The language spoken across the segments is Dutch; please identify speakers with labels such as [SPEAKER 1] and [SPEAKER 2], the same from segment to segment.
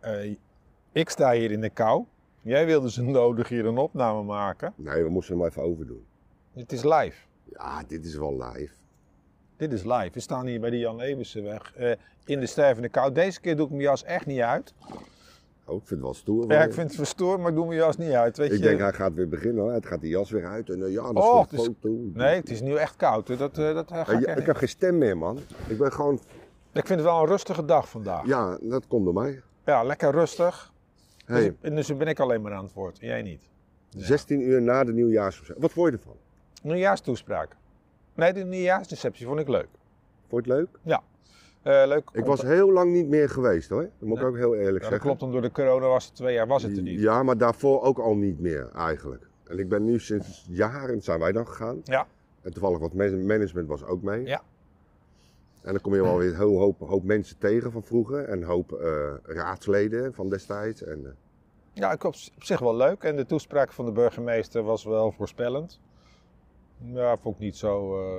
[SPEAKER 1] eh, Ik sta hier in de kou. Jij wilde zo nodig hier een opname maken.
[SPEAKER 2] Nee, we moesten hem even overdoen.
[SPEAKER 1] Dit is live.
[SPEAKER 2] Ja, dit is wel live.
[SPEAKER 1] Dit is live. We staan hier bij de Jan Ebersenweg eh, in de stervende kou. Deze keer doe ik mijn jas echt niet uit.
[SPEAKER 2] Oh, ik vind het wel stoer. van
[SPEAKER 1] Ja,
[SPEAKER 2] hem.
[SPEAKER 1] ik vind het verstoord, maar ik doe mijn jas niet uit. Weet
[SPEAKER 2] Ik
[SPEAKER 1] je?
[SPEAKER 2] denk, hij gaat weer beginnen. hoor. Het gaat die jas weer uit. En eh, ja, dat is
[SPEAKER 1] Oh,
[SPEAKER 2] voor
[SPEAKER 1] het is-
[SPEAKER 2] foto.
[SPEAKER 1] Nee, het is nu echt koud. hè. Dat, eh, dat eh, ga
[SPEAKER 2] Eh,
[SPEAKER 1] ik,
[SPEAKER 2] ja,
[SPEAKER 1] echt
[SPEAKER 2] ik heb geen stem meer, man. Ik ben gewoon...
[SPEAKER 1] niet. ik vind het wel een rustige dag vandaag. Ja,
[SPEAKER 2] Ja, dat komt door mij.
[SPEAKER 1] lekker rustig. Dus,
[SPEAKER 2] Hey,
[SPEAKER 1] en dus ben ik alleen maar aan het woord. en Jij niet.
[SPEAKER 2] 16 uur na de nieuwjaarsreceptie. Wat vond je ervan?
[SPEAKER 1] Nieuwjaarstoespraak. Nee, de nieuwjaarsreceptie vond ik leuk.
[SPEAKER 2] Vond je het leuk?
[SPEAKER 1] Eh, leuk.
[SPEAKER 2] Ik was heel lang niet meer geweest, hoor. Dat moet ik ook heel eerlijk
[SPEAKER 1] Ja, dat
[SPEAKER 2] zeggen.
[SPEAKER 1] klopt, want door de corona was het twee jaar was het er niet.
[SPEAKER 2] Ja, maar daarvoor ook al niet meer, eigenlijk. En ik ben nu sinds jaren, zijn wij dan gegaan.
[SPEAKER 1] Ja.
[SPEAKER 2] En toevallig wat man- management was ook mee.
[SPEAKER 1] Ja.
[SPEAKER 2] En dan kom je wel weer een heel hoop, hoop mensen tegen van vroeger. En een hoop eh, raadsleden van destijds. En, eh,
[SPEAKER 1] Ja, ik op, op zich wel leuk. En de toespraak van de burgemeester was wel voorspellend. Ja, vond ik niet zo. eh,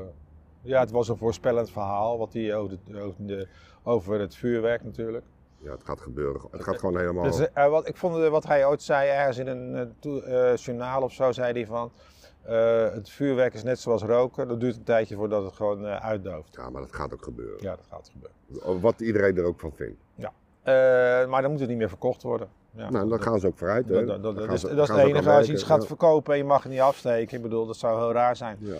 [SPEAKER 1] Ja, het was een voorspellend verhaal. Wat hij over, de, over, de- over het vuurwerk natuurlijk.
[SPEAKER 2] ja, het gaat gebeuren. Het gaat gewoon helemaal...
[SPEAKER 1] Dus, eh, wat, ik vond eh, wat hij ooit zei ergens in een eh, toe- eh, journaal of zo, zei hij van. eh, het vuurwerk is net zoals roken. Dat duurt een tijdje voordat het gewoon eh, uitdooft.
[SPEAKER 2] Ja, maar dat gaat ook gebeuren.
[SPEAKER 1] Ja, dat gaat gebeuren.
[SPEAKER 2] Wat iedereen er ook van vindt.
[SPEAKER 1] Eh, maar dan moet het niet meer verkocht worden. Ja.
[SPEAKER 2] nou, dan gaan ze ook vooruit. hè.
[SPEAKER 1] Dat, dat,
[SPEAKER 2] Dan
[SPEAKER 1] dat, dat
[SPEAKER 2] gaan
[SPEAKER 1] is,
[SPEAKER 2] ze-
[SPEAKER 1] dat is
[SPEAKER 2] gaan
[SPEAKER 1] het
[SPEAKER 2] ze ook
[SPEAKER 1] enige.
[SPEAKER 2] aan
[SPEAKER 1] Als je iets
[SPEAKER 2] werken.
[SPEAKER 1] gaat verkopen en je mag het niet afsteken. Ik bedoel, dat zou heel raar zijn.
[SPEAKER 2] Ja.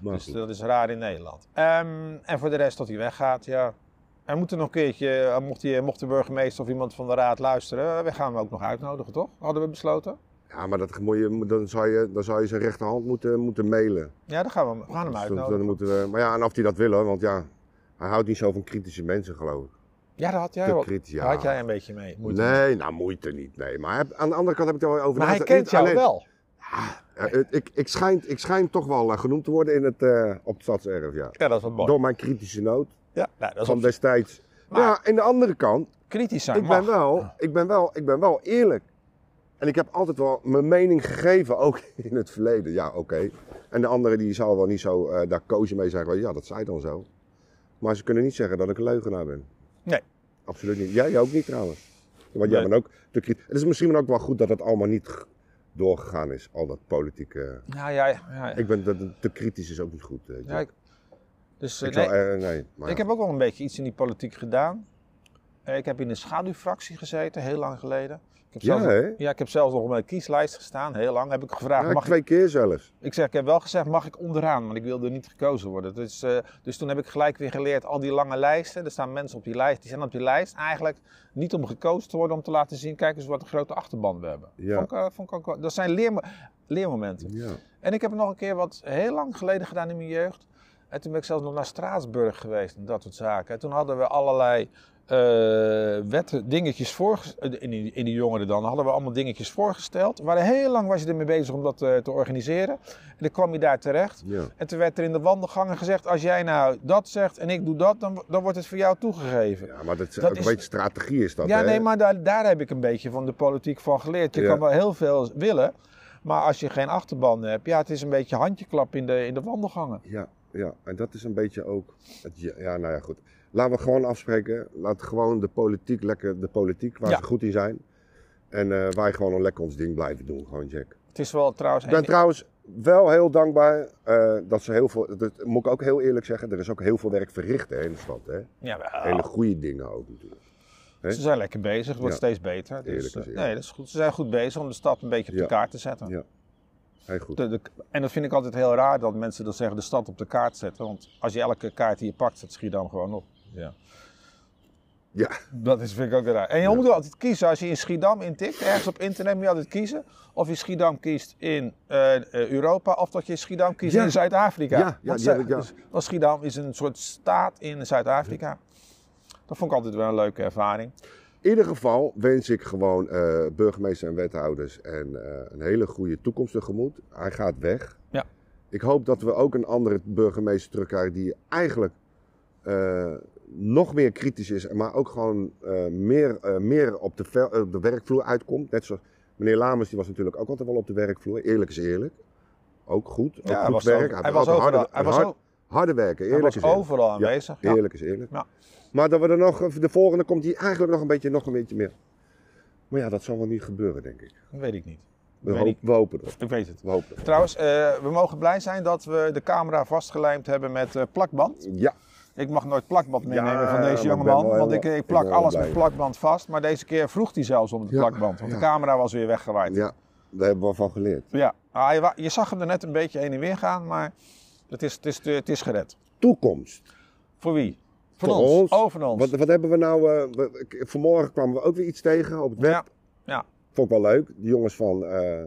[SPEAKER 2] Maar
[SPEAKER 1] Dus
[SPEAKER 2] goed.
[SPEAKER 1] dat is raar in Nederland. Ehm, en voor de rest tot hij weggaat, ja. En moet er nog een keertje, eh, mocht, die, mocht de burgemeester of iemand van de raad luisteren, eh, we gaan hem ook nog uitnodigen, toch? Hadden we besloten?
[SPEAKER 2] Ja, maar dat moet je, dan, zou je, dan zou je zijn rechterhand moeten, moeten mailen.
[SPEAKER 1] Ja, dan gaan we, hem- we gaan hem
[SPEAKER 2] Dus dan- dan
[SPEAKER 1] uitnodigen.
[SPEAKER 2] moeten we, maar ja, en of hij dat wil hoor, want ja, hij houdt niet zo van kritische mensen geloof ik.
[SPEAKER 1] Ja, daar had jij,
[SPEAKER 2] Te
[SPEAKER 1] wel,
[SPEAKER 2] kritisch, ja.
[SPEAKER 1] daar had jij een beetje mee. moeten doen.
[SPEAKER 2] nee, nou moeite niet, nee. Maar heb- aan de andere kant heb ik er wel over
[SPEAKER 1] maar hij
[SPEAKER 2] nagedacht.
[SPEAKER 1] kent
[SPEAKER 2] Niet
[SPEAKER 1] jou
[SPEAKER 2] alleen-
[SPEAKER 1] wel.
[SPEAKER 2] Ja, het- ik, ik, schijn, ik schijn toch wel eh, genoemd te worden in het, eh, op het stadserf, ja.
[SPEAKER 1] Ja, dat is wel mooi.
[SPEAKER 2] Door mijn kritische noot
[SPEAKER 1] Ja, nou, dat is
[SPEAKER 2] van
[SPEAKER 1] op,
[SPEAKER 2] destijds.
[SPEAKER 1] Maar-
[SPEAKER 2] Maar ja, aan de andere kant,
[SPEAKER 1] kritisch zijn
[SPEAKER 2] ik
[SPEAKER 1] mag.
[SPEAKER 2] ben, wel, ik, ben wel, ik ben wel eerlijk. En ik heb altijd wel mijn mening gegeven, ook in het verleden. Ja, oké. En de anderen die zal wel niet zo eh, daar kozen mee zeggen. Ja, dat zei dan zo. Maar ze kunnen niet zeggen dat ik een leugenaar ben.
[SPEAKER 1] Nee.
[SPEAKER 2] Absoluut niet. Jij ook niet trouwens. Want jij
[SPEAKER 1] Nee.
[SPEAKER 2] bent ook... de kri- Het is misschien ook wel goed dat het allemaal niet g- doorgegaan is. Al dat politieke...
[SPEAKER 1] Ja, ja, ja. ja.
[SPEAKER 2] Ik ben... dat- Te kritisch is ook niet goed. weet je.
[SPEAKER 1] Ja, ik- dus, eh,
[SPEAKER 2] Ik
[SPEAKER 1] nee.
[SPEAKER 2] zou, eh, nee, maar
[SPEAKER 1] Ik heb ook wel een beetje iets in die politiek gedaan. Eh, Ik heb in de schaduwfractie gezeten, heel lang geleden. Ik heb
[SPEAKER 2] Ja,
[SPEAKER 1] zelfs,
[SPEAKER 2] hè?
[SPEAKER 1] ja, ik heb zelfs nog op mijn kieslijst gestaan, heel lang. Heb ik gevraagd,
[SPEAKER 2] Ja,
[SPEAKER 1] mag ik,
[SPEAKER 2] twee keer zelfs.
[SPEAKER 1] ik, zeg, ik heb wel gezegd, mag ik onderaan? Want ik wilde niet gekozen worden. Dus, eh, dus toen heb ik gelijk weer geleerd, al die lange lijsten. Er staan mensen op die lijst, die zijn op die lijst eigenlijk niet om gekozen te worden. Om te laten zien, kijk eens wat een grote achterban we hebben.
[SPEAKER 2] Ja.
[SPEAKER 1] Vond ik, eh, vond ik ook wel- dat zijn leermo- leermomenten.
[SPEAKER 2] Ja.
[SPEAKER 1] En ik heb nog een keer wat heel lang geleden gedaan in mijn jeugd. En toen ben ik zelfs nog naar Straatsburg geweest en dat soort zaken. En toen hadden we allerlei eh, wetten, dingetjes voorgesteld. In, die- in de jongeren dan hadden we allemaal dingetjes voorgesteld. We waren heel lang was je ermee bezig om dat eh, te organiseren. En dan kwam je daar terecht.
[SPEAKER 2] Ja.
[SPEAKER 1] En toen werd er in de wandelgangen gezegd: als jij nou dat zegt en ik doe dat, dan, dan wordt het voor jou toegegeven.
[SPEAKER 2] ja, maar dat is
[SPEAKER 1] Dat
[SPEAKER 2] ook
[SPEAKER 1] is-
[SPEAKER 2] een beetje strategie is dat,
[SPEAKER 1] Ja,
[SPEAKER 2] hè?
[SPEAKER 1] nee, maar daar, daar heb ik een beetje van de politiek van geleerd. Je
[SPEAKER 2] Ja.
[SPEAKER 1] kan wel heel veel willen, maar als je geen achterban hebt, ja, het is een beetje handjeklap in de, in de wandelgangen.
[SPEAKER 2] Ja, ja, en dat is een beetje ook. Het, ja, ja, nou ja, goed. Laten we gewoon afspreken. Laat gewoon de politiek lekker, de politiek waar
[SPEAKER 1] Ja.
[SPEAKER 2] ze goed in zijn. En eh, wij gewoon lekker ons ding blijven doen, gewoon Jack.
[SPEAKER 1] Het is wel trouwens.
[SPEAKER 2] Ik ben
[SPEAKER 1] één-
[SPEAKER 2] trouwens wel heel dankbaar eh, dat ze heel veel. Dat moet ik ook heel eerlijk zeggen. Er is ook heel veel werk verricht hè, in de stad. Hè?
[SPEAKER 1] Jawel.
[SPEAKER 2] Hele goede dingen ook natuurlijk.
[SPEAKER 1] Ze zijn lekker bezig, het wordt
[SPEAKER 2] Ja.
[SPEAKER 1] steeds beter. Dus,
[SPEAKER 2] Eerlijk
[SPEAKER 1] eh,
[SPEAKER 2] is eerlijk.
[SPEAKER 1] nee, dat is goed. Ze zijn goed bezig om de stad een beetje op
[SPEAKER 2] Ja.
[SPEAKER 1] de kaart te zetten.
[SPEAKER 2] Ja. Heel goed.
[SPEAKER 1] De- de- en dat vind ik altijd heel raar dat mensen dat zeggen, de stad op de kaart zetten. Want als je elke kaart die je pakt, zet Schiedam gewoon op. Ja.
[SPEAKER 2] Ja,
[SPEAKER 1] Dat is, vind ik ook raar. En je moet altijd kiezen. Als je in Schiedam intikt, ergens op internet moet je altijd kiezen. Of je Schiedam kiest in eh, eh, Europa, of dat je Schiedam kiest
[SPEAKER 2] Ja.
[SPEAKER 1] in Zuid-Afrika.
[SPEAKER 2] Ja, ja,
[SPEAKER 1] Want
[SPEAKER 2] die heb
[SPEAKER 1] Zu-
[SPEAKER 2] ik, ja.
[SPEAKER 1] dus- want Schiedam is een soort staat in Zuid-Afrika. Dat vond ik altijd wel een leuke ervaring.
[SPEAKER 2] In ieder geval wens ik gewoon eh burgemeester en wethouders en, eh, een hele goede toekomst tegemoet. Hij gaat weg.
[SPEAKER 1] Ja.
[SPEAKER 2] Ik hoop dat we ook een andere burgemeester terugkrijgen die eigenlijk eh, nog meer kritisch is, maar ook gewoon eh, meer, eh, meer op, de vel- eh, op de werkvloer uitkomt. Net zoals meneer Lamers, die was natuurlijk ook altijd wel op de werkvloer. Eerlijk is eerlijk. Ook goed. Ook
[SPEAKER 1] Ja, hij
[SPEAKER 2] goed
[SPEAKER 1] was,
[SPEAKER 2] werk.
[SPEAKER 1] over-
[SPEAKER 2] Hij
[SPEAKER 1] hij
[SPEAKER 2] was
[SPEAKER 1] was
[SPEAKER 2] altijd
[SPEAKER 1] overal,
[SPEAKER 2] harde-
[SPEAKER 1] hij was
[SPEAKER 2] hard-
[SPEAKER 1] o-
[SPEAKER 2] harde werken.
[SPEAKER 1] hij
[SPEAKER 2] Eerlijk
[SPEAKER 1] was
[SPEAKER 2] is eerlijk.
[SPEAKER 1] overal
[SPEAKER 2] Ja,
[SPEAKER 1] aanwezig. Ja.
[SPEAKER 2] Eerlijk is eerlijk.
[SPEAKER 1] Ja.
[SPEAKER 2] Maar dat we er nog, de volgende komt die eigenlijk nog een beetje, nog een beetje meer. Maar ja, dat zal wel niet gebeuren, denk ik.
[SPEAKER 1] Dat weet ik niet.
[SPEAKER 2] We,
[SPEAKER 1] Weet
[SPEAKER 2] hoop-
[SPEAKER 1] ik.
[SPEAKER 2] we hopen erop.
[SPEAKER 1] Ik weet het.
[SPEAKER 2] We hopen erop.
[SPEAKER 1] Trouwens, eh, we mogen blij zijn dat we de camera vastgelijmd hebben met eh, plakband.
[SPEAKER 2] Ja,
[SPEAKER 1] Ik mag nooit plakband meenemen
[SPEAKER 2] Ja,
[SPEAKER 1] van
[SPEAKER 2] maar
[SPEAKER 1] deze
[SPEAKER 2] ik
[SPEAKER 1] jongeman,
[SPEAKER 2] ben wel
[SPEAKER 1] want ik,
[SPEAKER 2] heel-
[SPEAKER 1] ik
[SPEAKER 2] ik
[SPEAKER 1] plak
[SPEAKER 2] ben wel
[SPEAKER 1] alles
[SPEAKER 2] blij.
[SPEAKER 1] met plakband vast. Maar deze keer vroeg hij zelfs om de
[SPEAKER 2] Ja,
[SPEAKER 1] plakband, want
[SPEAKER 2] ja.
[SPEAKER 1] de camera was weer weggewaaid.
[SPEAKER 2] ja, daar hebben we van geleerd.
[SPEAKER 1] Ja, Ah, je, wa- je zag hem er net een beetje heen en weer gaan, maar het is, het is, het is gered.
[SPEAKER 2] Toekomst.
[SPEAKER 1] Voor wie? Van
[SPEAKER 2] Voor
[SPEAKER 1] ons.
[SPEAKER 2] ons.
[SPEAKER 1] Oh, van ons.
[SPEAKER 2] Wat, wat hebben we nou... eh, we- ik- vanmorgen kwamen we ook weer iets tegen op het web.
[SPEAKER 1] Ja. Ja.
[SPEAKER 2] Vond ik wel leuk. De jongens van eh,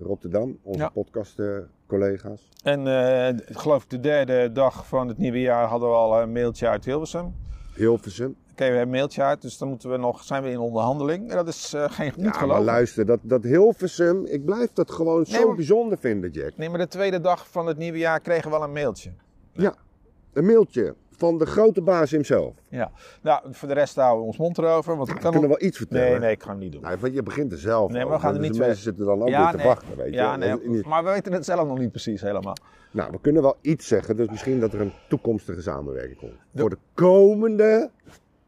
[SPEAKER 2] Rotterdam, onze eh,
[SPEAKER 1] Ja.
[SPEAKER 2] podcast-collega's.
[SPEAKER 1] En eh, ik geloof ik de derde dag van het nieuwe jaar hadden we al een mailtje uit Hilversum.
[SPEAKER 2] Hilversum.
[SPEAKER 1] Oké, we hebben een mailtje uit, dus dan moeten we nog, zijn we in onderhandeling. En dat is eh, geen, niet
[SPEAKER 2] Ja, maar
[SPEAKER 1] geloven.
[SPEAKER 2] luister, dat, dat Hilversum, ik blijf dat gewoon zo
[SPEAKER 1] maar-
[SPEAKER 2] bijzonder vinden, Jack.
[SPEAKER 1] Nee, maar de tweede dag van het nieuwe jaar kregen we wel een mailtje.
[SPEAKER 2] Een mailtje van de grote baas hemzelf.
[SPEAKER 1] Ja. Nou, voor de rest houden we ons mond erover, want ik kan
[SPEAKER 2] Kunnen we
[SPEAKER 1] nog-
[SPEAKER 2] wel iets vertellen?
[SPEAKER 1] Nee, nee, ik ga hem niet doen.
[SPEAKER 2] Nou, want je begint er zelf
[SPEAKER 1] Nee, maar we
[SPEAKER 2] over,
[SPEAKER 1] gaan er
[SPEAKER 2] dus
[SPEAKER 1] niet
[SPEAKER 2] de mensen
[SPEAKER 1] weg.
[SPEAKER 2] zitten dan ook
[SPEAKER 1] Ja,
[SPEAKER 2] weer te
[SPEAKER 1] nee.
[SPEAKER 2] wachten, weet je.
[SPEAKER 1] Ja, nee,
[SPEAKER 2] En- en-
[SPEAKER 1] maar we weten het zelf nog niet precies helemaal.
[SPEAKER 2] Nou, we kunnen wel iets zeggen, dus misschien dat er een toekomstige samenwerking komt.
[SPEAKER 1] De-
[SPEAKER 2] Voor de komende,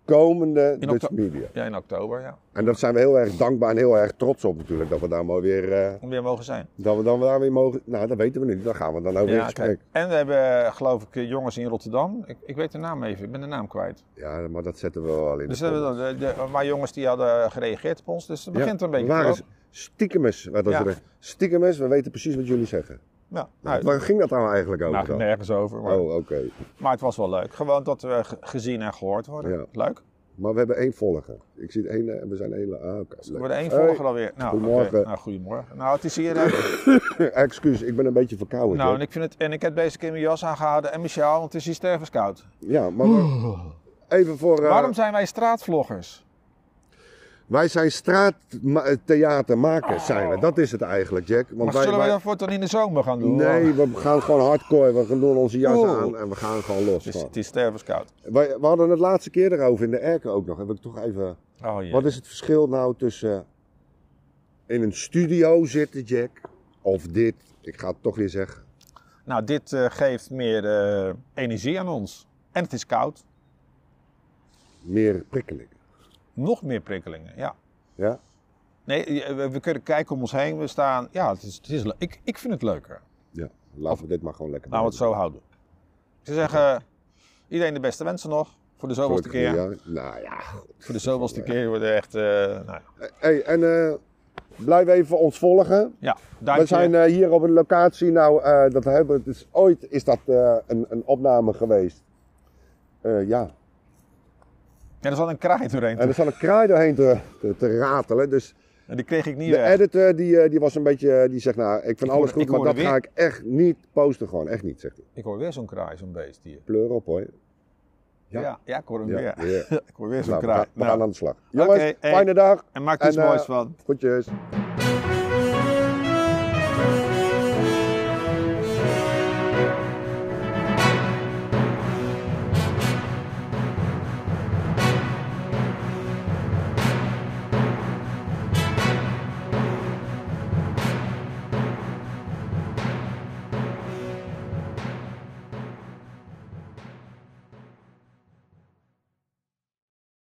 [SPEAKER 2] komende
[SPEAKER 1] In
[SPEAKER 2] Dutch
[SPEAKER 1] oktober.
[SPEAKER 2] Media.
[SPEAKER 1] Ja, in oktober, ja.
[SPEAKER 2] En daar zijn we heel erg dankbaar en heel erg trots op natuurlijk, dat we daar maar weer, eh,
[SPEAKER 1] Om weer mogen zijn.
[SPEAKER 2] dat we dan daar weer mogen, nou dat weten we niet, daar gaan we dan over in
[SPEAKER 1] Ja,
[SPEAKER 2] gesprek.
[SPEAKER 1] kijk. En we hebben, geloof ik, eh, jongens in Rotterdam. Ik, ik weet de naam even, ik ben de naam kwijt.
[SPEAKER 2] Ja, maar dat zetten we wel in.
[SPEAKER 1] Dus
[SPEAKER 2] de
[SPEAKER 1] de, de, de- maar jongens die hadden gereageerd op ons, dus het begint een beetje te
[SPEAKER 2] Waar
[SPEAKER 1] lopen.
[SPEAKER 2] is stiekemes? Wat was
[SPEAKER 1] Ja.
[SPEAKER 2] er? Stiekemes, we weten precies wat jullie zeggen.
[SPEAKER 1] Ja,
[SPEAKER 2] Nou,
[SPEAKER 1] nou,
[SPEAKER 2] waar ging dat nou eigenlijk over?
[SPEAKER 1] nou,
[SPEAKER 2] dan?
[SPEAKER 1] nergens over. Maar,
[SPEAKER 2] Oh, oké.
[SPEAKER 1] maar het was wel leuk. Gewoon dat we ge- gezien en gehoord worden.
[SPEAKER 2] Ja.
[SPEAKER 1] Leuk.
[SPEAKER 2] Maar we hebben één volger. Ik zie één, eh, we zijn één. Ah, oké.
[SPEAKER 1] We
[SPEAKER 2] leuk.
[SPEAKER 1] worden één
[SPEAKER 2] Hey,
[SPEAKER 1] volger alweer. Nou, oké.
[SPEAKER 2] Goedemorgen.
[SPEAKER 1] Nou, goedemorgen. Nou, het is hier. eh,
[SPEAKER 2] Excuus, ik ben een beetje verkouden.
[SPEAKER 1] nou,
[SPEAKER 2] Jack.
[SPEAKER 1] en ik, vind het, en ik heb deze keer mijn jas aangehouden en mijn sjaal, want het is hier stervenskoud.
[SPEAKER 2] Ja, maar we- even voor. eh,
[SPEAKER 1] Waarom zijn wij straatvloggers?
[SPEAKER 2] Wij zijn straattheatermakers, zijn we. Dat is het eigenlijk, Jack. Want
[SPEAKER 1] Oh. Maar
[SPEAKER 2] wij,
[SPEAKER 1] zullen we
[SPEAKER 2] wij-
[SPEAKER 1] dat voor dan in de zomer gaan doen? Oh,
[SPEAKER 2] Nee, we gaan gewoon hardcore. We gaan doen onze jas
[SPEAKER 1] Oeh.
[SPEAKER 2] aan en we gaan gewoon los.
[SPEAKER 1] Het is,
[SPEAKER 2] gewoon.
[SPEAKER 1] het is stervenskoud.
[SPEAKER 2] Wij- we hadden het laatste keer erover in de erken ook nog. Heb ik toch even.
[SPEAKER 1] Oh jee.
[SPEAKER 2] Wat is het verschil nou tussen in een studio zitten, Jack, of dit? Ik ga het toch weer zeggen.
[SPEAKER 1] Nou, dit eh, geeft meer eh, energie aan ons. En het is koud.
[SPEAKER 2] Meer prikkelingen.
[SPEAKER 1] Nog meer prikkelingen, ja.
[SPEAKER 2] Ja?
[SPEAKER 1] Nee, eh, we, we kunnen kijken om ons heen. We staan... Ja, het is, het is, le- ik, ik vind het leuker.
[SPEAKER 2] Ja. Laten we dit maar gewoon lekker
[SPEAKER 1] Nou, we het zo houden. Ze zeggen, iedereen de beste wensen nog. Voor de zoveelste keer.
[SPEAKER 2] Ja. Nou ja. goed.
[SPEAKER 1] Voor de zoveelste keer wordt echt... eh nou, ja.
[SPEAKER 2] Hey, en eh, blijf even ons volgen.
[SPEAKER 1] ja, duimpje.
[SPEAKER 2] We zijn eh, hier op een locatie. Nou, eh, dat hebben, het is, ooit is dat eh, een, een opname geweest. Eh, ja.
[SPEAKER 1] Ja, er zat een kraai doorheen.
[SPEAKER 2] En er zat een kraai doorheen te, te, te ratelen. Dus
[SPEAKER 1] En die kreeg ik niet
[SPEAKER 2] De
[SPEAKER 1] weg.
[SPEAKER 2] editor die, eh, die was een beetje, eh, die zegt nou, ik vind
[SPEAKER 1] hoorde-
[SPEAKER 2] alles
[SPEAKER 1] ik
[SPEAKER 2] goed, maar
[SPEAKER 1] hoorde
[SPEAKER 2] dat
[SPEAKER 1] weer-
[SPEAKER 2] ga ik echt niet posten gewoon. Echt niet, zegt hij.
[SPEAKER 1] Ik hoor weer zo'n kraai, zo'n beest hier.
[SPEAKER 2] Pleur op hoor.
[SPEAKER 1] Ja,
[SPEAKER 2] Ja.
[SPEAKER 1] ja, ik hoor hem
[SPEAKER 2] Ja,
[SPEAKER 1] weer.
[SPEAKER 2] weer.
[SPEAKER 1] ik hoor weer zo'n
[SPEAKER 2] Nou, we
[SPEAKER 1] kraai.
[SPEAKER 2] gaan, we
[SPEAKER 1] Nou,
[SPEAKER 2] gaan aan de slag. Jongens,
[SPEAKER 1] hey.
[SPEAKER 2] fijne dag.
[SPEAKER 1] En maak er
[SPEAKER 2] En,
[SPEAKER 1] iets moois
[SPEAKER 2] eh,
[SPEAKER 1] van.
[SPEAKER 2] Goedjes.